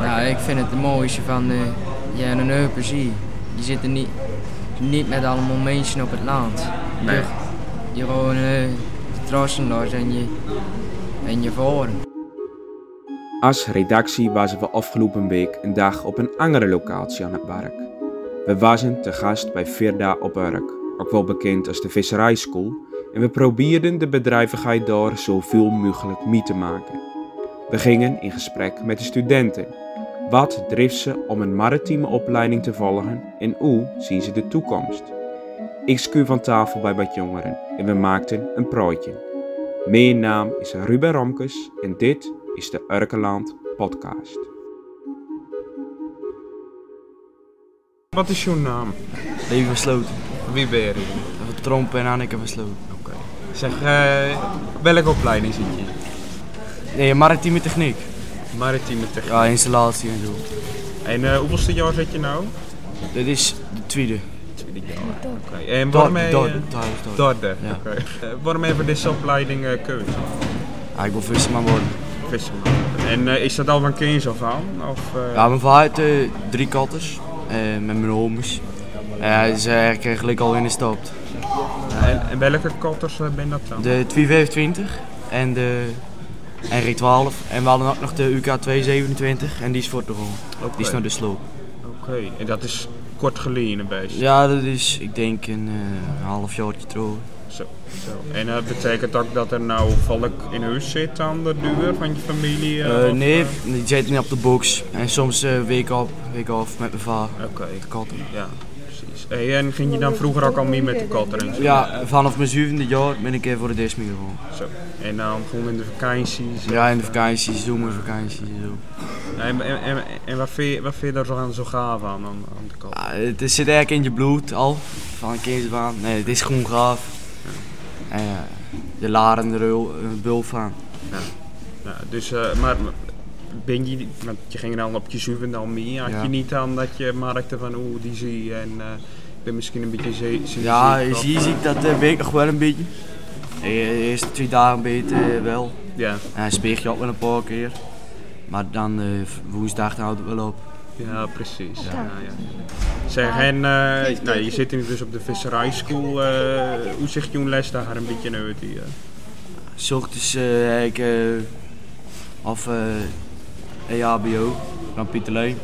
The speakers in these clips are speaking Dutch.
Nou, ik vind het het mooiste van eh, de JNN-plezier. Die zitten niet, niet met allemaal mensen op het land. Nee. Je, je gewoon eh trossen los en je, en je voren. Als redactie waren we afgelopen week een dag op een andere locatie aan het werk. We waren te gast bij Verda op Urk, ook wel bekend als de visserijschool, en we probeerden de bedrijvigheid daar zoveel mogelijk mee te maken. We gingen in gesprek met de studenten. Wat dreef ze om een maritieme opleiding te volgen en hoe zien ze de toekomst? Ik schuur van tafel bij wat jongeren en we maakten een prooitje. Mijn naam is Ruben Ramkes en dit is de Urkeland Podcast. Wat is jouw naam? Leven Versloten. Wie ben je? Van Trompen en Anneke Versloten. Zeg, eh, welke opleiding zit je? Nee, maritieme techniek. Maritieme techniek. Ja, installatie en zo. En eh, hoeveelste jaar zit je nou? Dit is de tweede. Tweede jaar. Oké. En waarom Dorde, heb dorde, je... dorde, dorde. Dorde. Ja. Oké. Eh, waarom heb je deze opleiding eh keuze? Ja, ik wil visserman worden. Visserman. En eh, is dat al een kind of aan? Of, eh, Ja, mijn vader heeft eh, drie katters. eh, met mijn homies. En hij is eh, eigenlijk gelijk al ingestapt. en, en welke kotters eh, ben dat dan? De 225 en de R12. En we hadden ook nog de UK227 en die is voor de rol. Oké. Die is naar de sloop. Oké. En dat is kort geleden een beetje. Ja, dat is ik denk een eh half jaartje trouwen. Zo, zo. En dat betekent ook dat er nou volk in huis zit aan de deur van je familie? eh, Eh, of, nee, eh? die zit niet op de box. En soms eh, week op, week af met mijn vader. Oké, De katten. ja, precies. Hey, en ging je dan vroeger ook al mee met de katten en zo? Ja, vanaf mijn zevende jaar ben ik eh, voor de Disney gewoon. Zo. En dan gewoon in de vakanties? Ja, in de vakanties, zomervakanties en zo. En, en, en, en wat vind je, wat vind je daar zo aan zo gaaf aan, aan, aan de katten? Ja, het is- zit eigenlijk in je bloed al, van kindersbaan. Nee, het is gewoon gaaf. En ja, je laren er heel eh, bul van. Nou, dus, eh, maar ben je, want je ging dan op je zevende al mee, had Ja. je niet aan dat je merkte van oeh, die zie je en eh, ik ben misschien een beetje ze- ze- Ja, ziek je of- ziet zie ik dat eh, weet ik nog wel een beetje. De eerste twee dagen beter eh, wel. Ja, En hij speeg je ook wel een paar keer. Maar dan eh, woensdag dan houdt het wel op. ja precies. Ja, ja. Zeg, en eh, nou, je zit nu dus op de visserijschool. eh, hoe ziet jouw les daar een beetje uit hier? S ochtends eh, ik eh, af eh EHBO, dan Pieter Leen.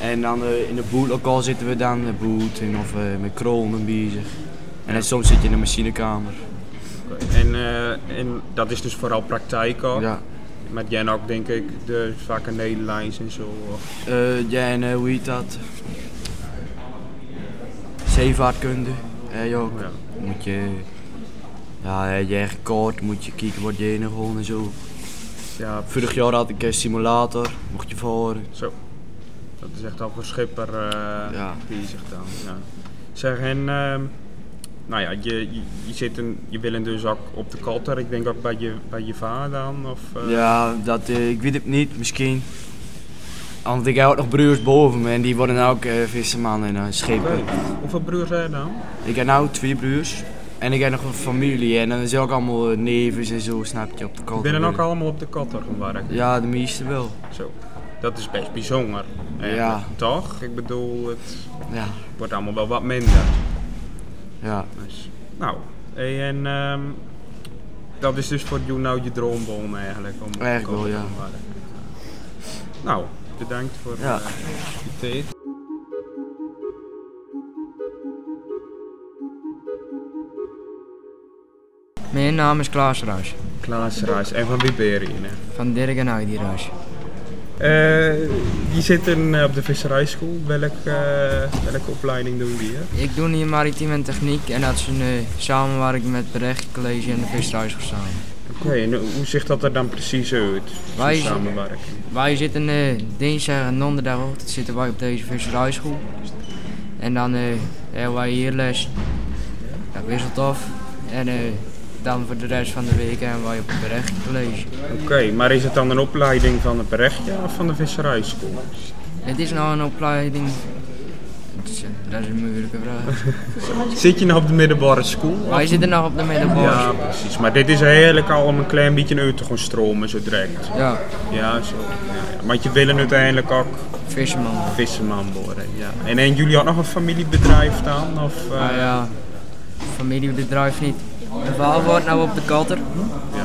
En dan eh, in de bootlokaal zitten we dan, de boot en of eh, met kronen bezig. En dan soms zit je in de machinekamer. Oké. En, eh, en dat is dus vooral praktijk ook. Ja. Met Jan ook denk ik de vakken Nederlands en zo. of- Eh, ja, en eh, hoe heet dat? Zeevaartkunde. eh, ja, Ja. moet je... Ja, eh, je eigen kaart, moet je kijken wat je heen gewoon en zo. Ja, Vorig jaar had ik een simulator, mocht je varen. Zo. Dat is echt al voor schipper eh, Ja. bezig dan. Ja. Zeg, en ehm, nou ja, je, je, je, zit in, je wil hem dus ook op de kalter. Ik denk ook bij je, bij je vader dan. Of, eh, Ja, dat, eh, ik weet het niet, misschien. Want ik heb ook nog broers boven me en die worden ook eh visserman en eh, schepen. oké. Hoeveel broers zijn er dan? Ik heb nou twee broers en ik heb nog een familie en dan is ook allemaal eh, nevens en zo, snap je, op de kant. Binnen ook allemaal op de kalter gewerkt. Ja, de meeste wel. Zo. Dat is best bijzonder. Ja. Toch? Ik bedoel, het Ja, wordt allemaal wel wat minder. ja. Dus, nou, hey, en ehm, dat is dus voor jou nou je droombom eigenlijk. Om op de Eigenlijk wel, kalter ja. te werken. Nou, bedankt voor Ja. eh, je tijd. Mijn naam is Klaas Ruis, Klaas Ruijs en van Wiberiën. van Dirk en Heidi Ruis. je Eh, zit in, eh, op de visserijschool. Welke, eh, welke opleiding doen die? Hè? Ik doe hier maritiem en techniek en dat is een eh, samenwerking met het Berecht College en de Visserijschool samen. Oké, en hoe ziet dat er dan precies uit? Wij- Zo'n samenwerking. Wij zitten eh, dinsdag en donderdagochtend zitten wij op deze visserijschool. En dan eh, hebben wij hier les. Dat wisselt af. En eh, dan voor de rest van de week hebben wij op het berechtcollege. Oké, maar is het dan een opleiding van het berechtje of van de visserijschool? Het is nou een opleiding Tja, dat is een moeilijke vraag. Zit je nou op de middelbare school? Wij zitten nog op de Ja, middelbare. precies. Maar dit is heerlijk al om een klein beetje uit te gaan stromen zo direct. Ja, Ja, zo. Ja, ja. Want je willen uiteindelijk ook visserman. visserman worden. Ja. En, en jullie hadden nog een familiebedrijf dan? Of, eh, Nou ja, familiebedrijf niet. Mijn vader woont nou op de kater.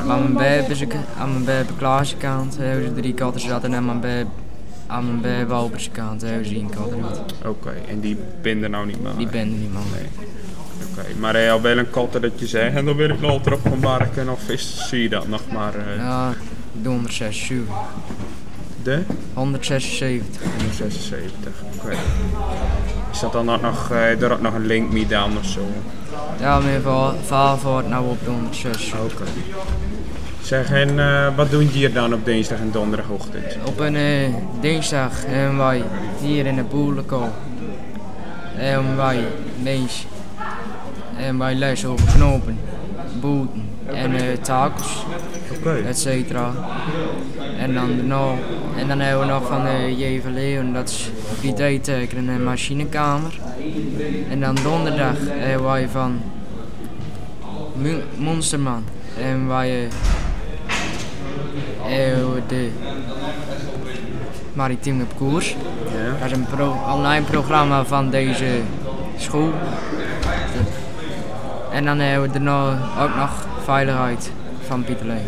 Maar mijn baby is ook- aan mijn baby Klaasje kant hebben ze drie katters gehad. En aan mijn baby, aan mijn baby Albertse kant hebben ze één katter gehad. Oké, en die ben er nou niet meer? Die ben er niet, man. Nee. Oké, maar hij had wel een katten dat je zei, en dan wil ik later op gaan werken of is, zie je dat nog maar eh, Ja, ik doe 176. de 176. 76. Oké. Is dat dan ook nog, eh er ook nog een link mee dan of zo? Oké. Ja, mijn va- vader woont nou op de 176. Zeg, en eh, wat doen die hier dan op dinsdag en donderdagochtend? Op een eh, dinsdag hebben wij hier in de boerenkool. En wij links. En wij lessen over knopen, boeten en eh, takels, Oké. et cetera. En dan, daarna- en dan hebben we nog van de Jeven Leeuwen, dat is eh, 3D-tekenen en machinekamer. En dan donderdag hebben wij van Mon- Monsterman. En wij eh, hebben de Maritiem op Koers. Ja. Dat is een pro- online programma van deze school. En dan hebben we daarna ook nog veiligheid van Pieter Leen.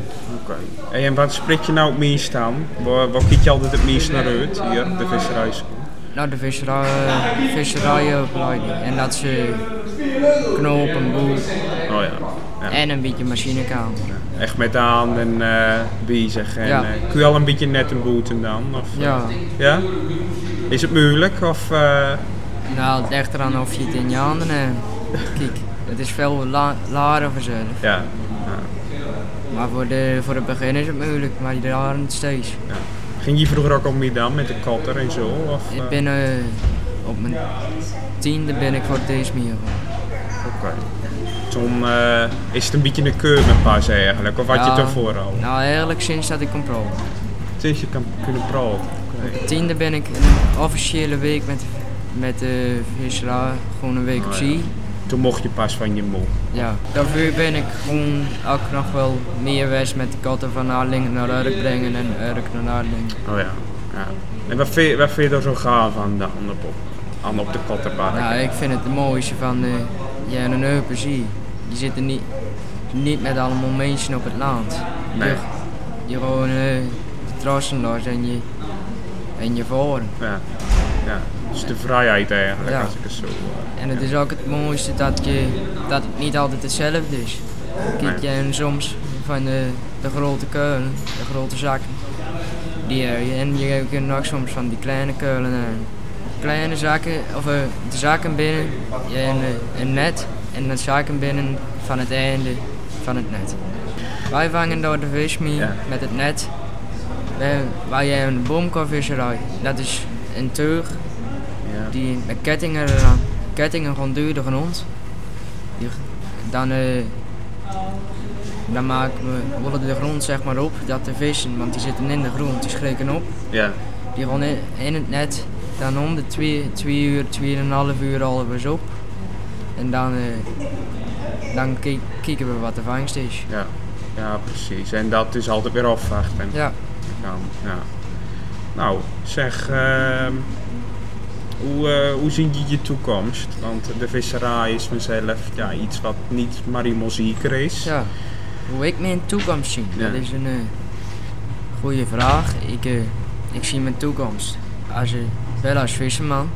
Oké. Hey, en wat spreek je nou het meest aan? Waar, waar kijk je altijd het meest naar uit hier op de visserijschool? Nou, de visserij, visserijenopleiding. En dat ze knopen, boer Oh ja. ja. en een beetje machinekamer. Echt met aan en eh, bezig. En, Ja. eh, kun je al een beetje net een boeten dan? Of, eh, Ja, ja? Is het moeilijk? Of, eh, nou, het ligt eraan of je het in je handen hebt. Kijk, het is veel la laren vanzelf. ja. ja. Maar voor, de, voor het begin is het moeilijk, maar die laren het steeds. Ja. Ging je vroeger ook al mee dan met de katter en zo? Of, eh, Ik ben eh, op mijn tiende ben ik voor deze meer. Oké. Toen eh, is het een beetje een keurmepas eigenlijk, of had je Ja. het ervoor al? Nou, eigenlijk sinds dat ik kon proben. Sinds je kan kunnen praten. Oké. Tiende ben ik een officiële week met, met de visserij, gewoon een week op Oh, zee. Toen mocht je pas van je moe. Ja. Daarvoor ben ik gewoon ook nog wel meer weg met de katten van Arlingen naar Urk brengen en Urk naar Arlingen. Oh ja. ja. En wat vind, je- wat vind je er zo gaaf aan dan op, op, aan op de kattenpark? Nou, ik vind het het mooiste van de ja, een Eupen zee. Je zit er niet, niet met allemaal mensen op het land. Nee. Je, je gewoon eh, de terrassen los en je, en je voren. Ja. ja. Dus de vrijheid eigenlijk, Ja. als ik het zo... eh, En het is ook het mooiste dat, je, dat het niet altijd hetzelfde is. Kijk, je en soms van de, de grote keulen, de grote zakken. Die, heb je. en je kunt ook soms van die kleine keulen hebben. Kleine zakken, of eh, de zakken binnen je en, eh, een net. En de zakken binnen van het einde van het net. Wij vangen door de vis mee Ja. met het net. Wij, wij hebben een boomkorvisserij. Dat is een teug ja. die met kettingen eraan. Kettingen gewoon duurder dan ons. Die, dan, eh, dan maken we, rollen de grond zeg maar op, dat de vissen, want die zitten in de grond, die schrikken op. ja. Die gewoon in, in het net, dan om de 2 twee uur, 2,5 uur rollen we ze op. En dan, eh, dan ki- kijken we wat de vangst is. Ja. Ja, precies. En dat is altijd weer afwachten. Ja, kan. Ja. Nou, zeg, ehm, hoe, eh, hoe zie je je toekomst? Want de visserij is vanzelf ja, iets wat niet marimozieker is. ja. Hoe ik mijn toekomst zie, Ja. dat is een eh, goede vraag. Ik, eh, ik zie mijn toekomst als, eh, wel als visserman,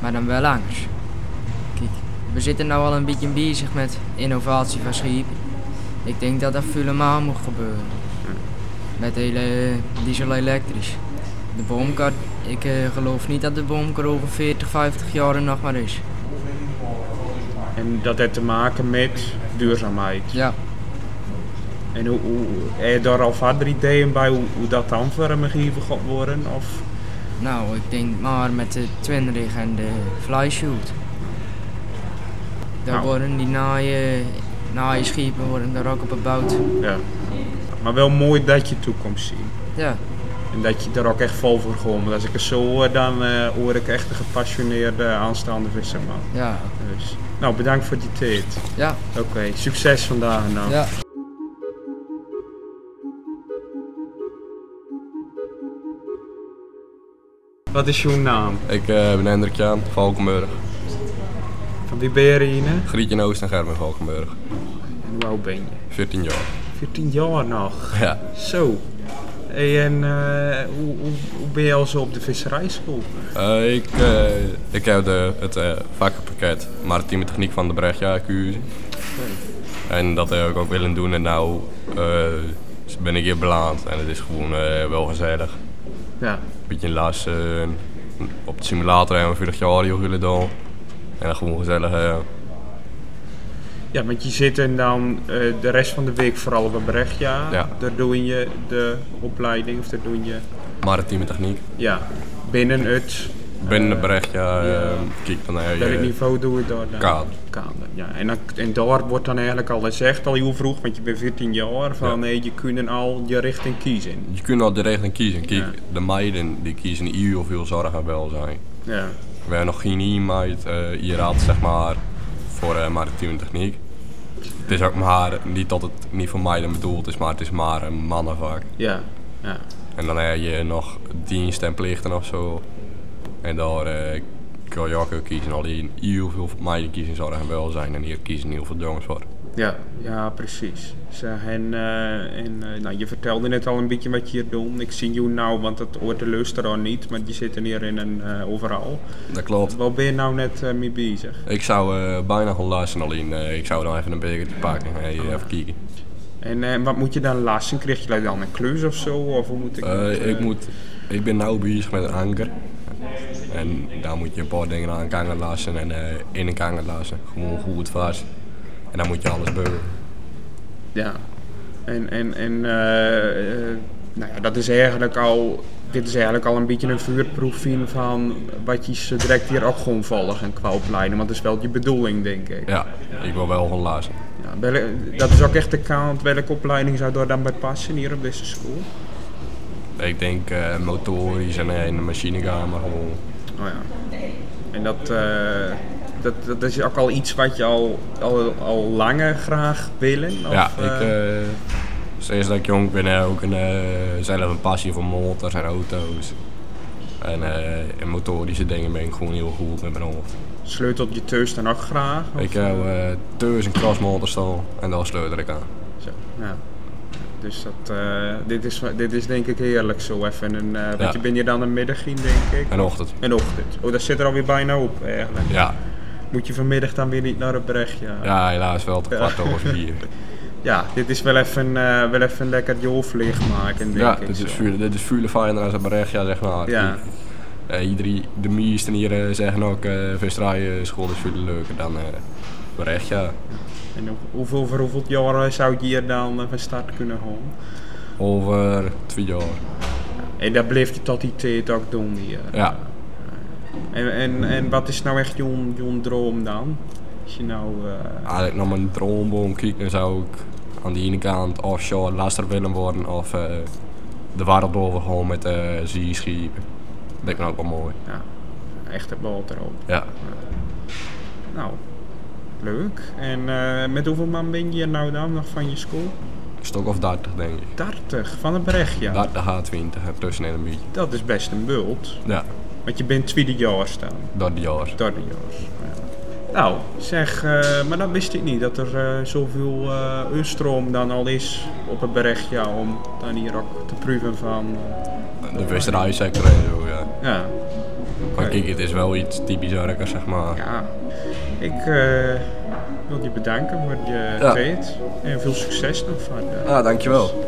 maar dan wel anders. Kijk, we zitten nu al een beetje bezig met innovatie van schepen. Ik denk dat dat helemaal moet gebeuren. Met hele eh, diesel-elektrisch. De boomkar, ik eh, geloof niet dat de boomkar over 40, 50 jaar er nog maar is. En dat heeft te maken met duurzaamheid. Ja, En hoe, hoe, heb je daar al verder ideeën bij hoe, hoe dat dan vormgegeven gaat worden? Of, Nou, ik denk maar met de twinrig en de flyshoot. Daar Nou. worden die naaie, naaie schepen worden daar ook op gebouwd. ja. Maar wel mooi dat je toekomst ziet. Ja, En dat je er ook echt vol voor gewoon. Want als ik het zo hoor, dan eh, hoor ik echt een gepassioneerde aanstaande visserman. Ja, Dus, nou, bedankt voor die tijd. ja, Oké, succes vandaag nou. ja. Wat is jouw naam? Ik eh, ben Hendrik Jaan, Valkenburg. Van wie ben je Rine? Grietje Oost en Gerben Valkenburg. En hoe oud ben je? 14 jaar. 14 jaar nog. Ja. Zo. Hey, en eh, hoe, hoe, hoe ben je al zo op de visserijschool? Eh, ik, eh, ik heb de, het eh, vakkenpakket maritieme techniek van de Brechtja cursus. En dat heb ik ook willen doen en nou eh, ben ik hier beland en het is gewoon eh, wel gezellig. Ja. Beetje lassen, op de simulator hebben we 40 jaar radio willen doen. En dan gewoon gezellig. eh, Ja, want je zit en dan eh, de rest van de week vooral bij Brechtja. Ja. Daar doe je de opleiding of daar doe je... maritieme techniek. Ja, binnen het... Binnen de eh, Brechtja, eh, kijk dan naar Welk je niveau doe je daar dan? kader. Kader, ja. En, dan, en daar wordt dan eigenlijk al gezegd, al heel vroeg, want je bent 14 jaar, van Ja. nee, je kunt al je richting kiezen. Je kunt al de regeling kiezen. Kijk, Ja. de meiden die kiezen EU of heel zorg en welzijn. Ja. We hebben nog geen e-meid eh, hier had, zeg maar, voor eh, maritieme techniek. Het is ook maar, niet dat het niet voor meiden bedoeld is, maar het is maar een mannenvak. Ja. Ja. En dan heb je nog dienst en plichten of zo. En daar eh, kun je ook wel kiezen. Alleen heel veel meiden kiezen zorg en welzijn en hier kiezen heel veel jongens voor. Ja, ja, precies. Zeg, en eh, en eh, nou, je vertelde net al een beetje wat je hier doet. Ik zie jou nou, want dat hoort de luisteraar niet, maar die zitten hier in een eh, overal. Dat klopt. Waar ben je nou net eh, mee bezig? Ik zou eh, bijna gaan luisteren, alleen eh, ik zou dan even een bekertje pakken en even kijken. En eh, wat moet je dan lasten? Krijg je dan een klus of zo? Of hoe moet ik Eh, dat, eh, ik, moet, ik ben nu bezig met een anker. En daar moet je een paar dingen aan een kanger lassen en eh, in een kanger lassen. Gewoon goed vast. En dan moet je alles beuren. Ja. En, en, en eh, eh, nou ja, dat is eigenlijk al... Dit is eigenlijk al een beetje een vuurproefing van wat je ze direct hier ook gewoon volgen qua opleiding. Want dat is wel je bedoeling, denk ik. Ja, ik wil wel gaan lassen. Ja, welke- dat is ook echt de kant. Welke opleiding zou daar dan bij passen hier op deze school? Ik denk eh, motorisch en eh, in de machinekamer gewoon. Oh ja. En dat, eh, dat, dat is ook al iets wat je al, al, al langer graag willen? Of, ja, ik, eh, eh, sinds dat ik jong ben heb ik ook een, eh, zelf een passie voor motors en auto's. En eh, in motorische dingen ben ik gewoon heel goed met mijn hoofd. sleutelt je thuis dan ook graag? Of, Ik heb eh thuis een crossmotor staan en daar sleutel ik aan. Zo, ja. Dus dat, eh, dit, is, dit is denk ik heerlijk zo even. Een, eh, Want Ja. je bent hier dan een middag in, denk ik. En ochtend. Een ochtend. Oh, dat zit er alweer bijna op eigenlijk. Ja, Moet je vanmiddag dan weer niet naar het brecht, ja helaas wel te kwart over vier. Ja, dit is wel even, eh, wel even lekker je hoofd leeg maken, denk Ja, ik. dit is zo. vuur, dit is vuurlijk fijner als een Berechtja, zeg maar. Ja. Eh, iedereen, de meesten hier eh, zeggen ook, eh visserij school is veel leuker dan eh Berechtja. En hoe- hoeveel, voor hoeveel jaren zou je hier dan eh, van start kunnen gaan? Over twee jaar. En dat bleef je tot die tijd ook doen hier. Ja. En, en, en wat is nou echt jouw, jouw droom dan? Als je nou... eh, Als ik naar mijn droomboom kijk, dan zou ik aan de ene kant offshore laster willen worden of eh, de wereld over gewoon met eh zeeschepen. Dat lijkt me ook wel mooi. ja, echt de bal erop. Ja. Nou, leuk. En eh, met hoeveel man ben je hier nou dan nog van je school? Een stuk of 30 denk ik. 30 van een berechtje. 30 H20 en tussenin een beetje. Dat is best een bult. Ja, Want je bent tweede jaar staan. dat jaar. Derde jaar. Ja. Nou, zeg, eh, maar dat wist ik niet. Dat er eh, zoveel eh unstroom dan al is op het berechtje. Om dan hier ook te proeven van... eh, De visserijsector en zo, eh, ja. ja, Maar Oké. kijk, het is wel iets typisch werkers, zeg maar. ja. Ik eh, wil je bedanken voor je Ja. tijd. En veel succes nog eh, verder. Ah, dankjewel.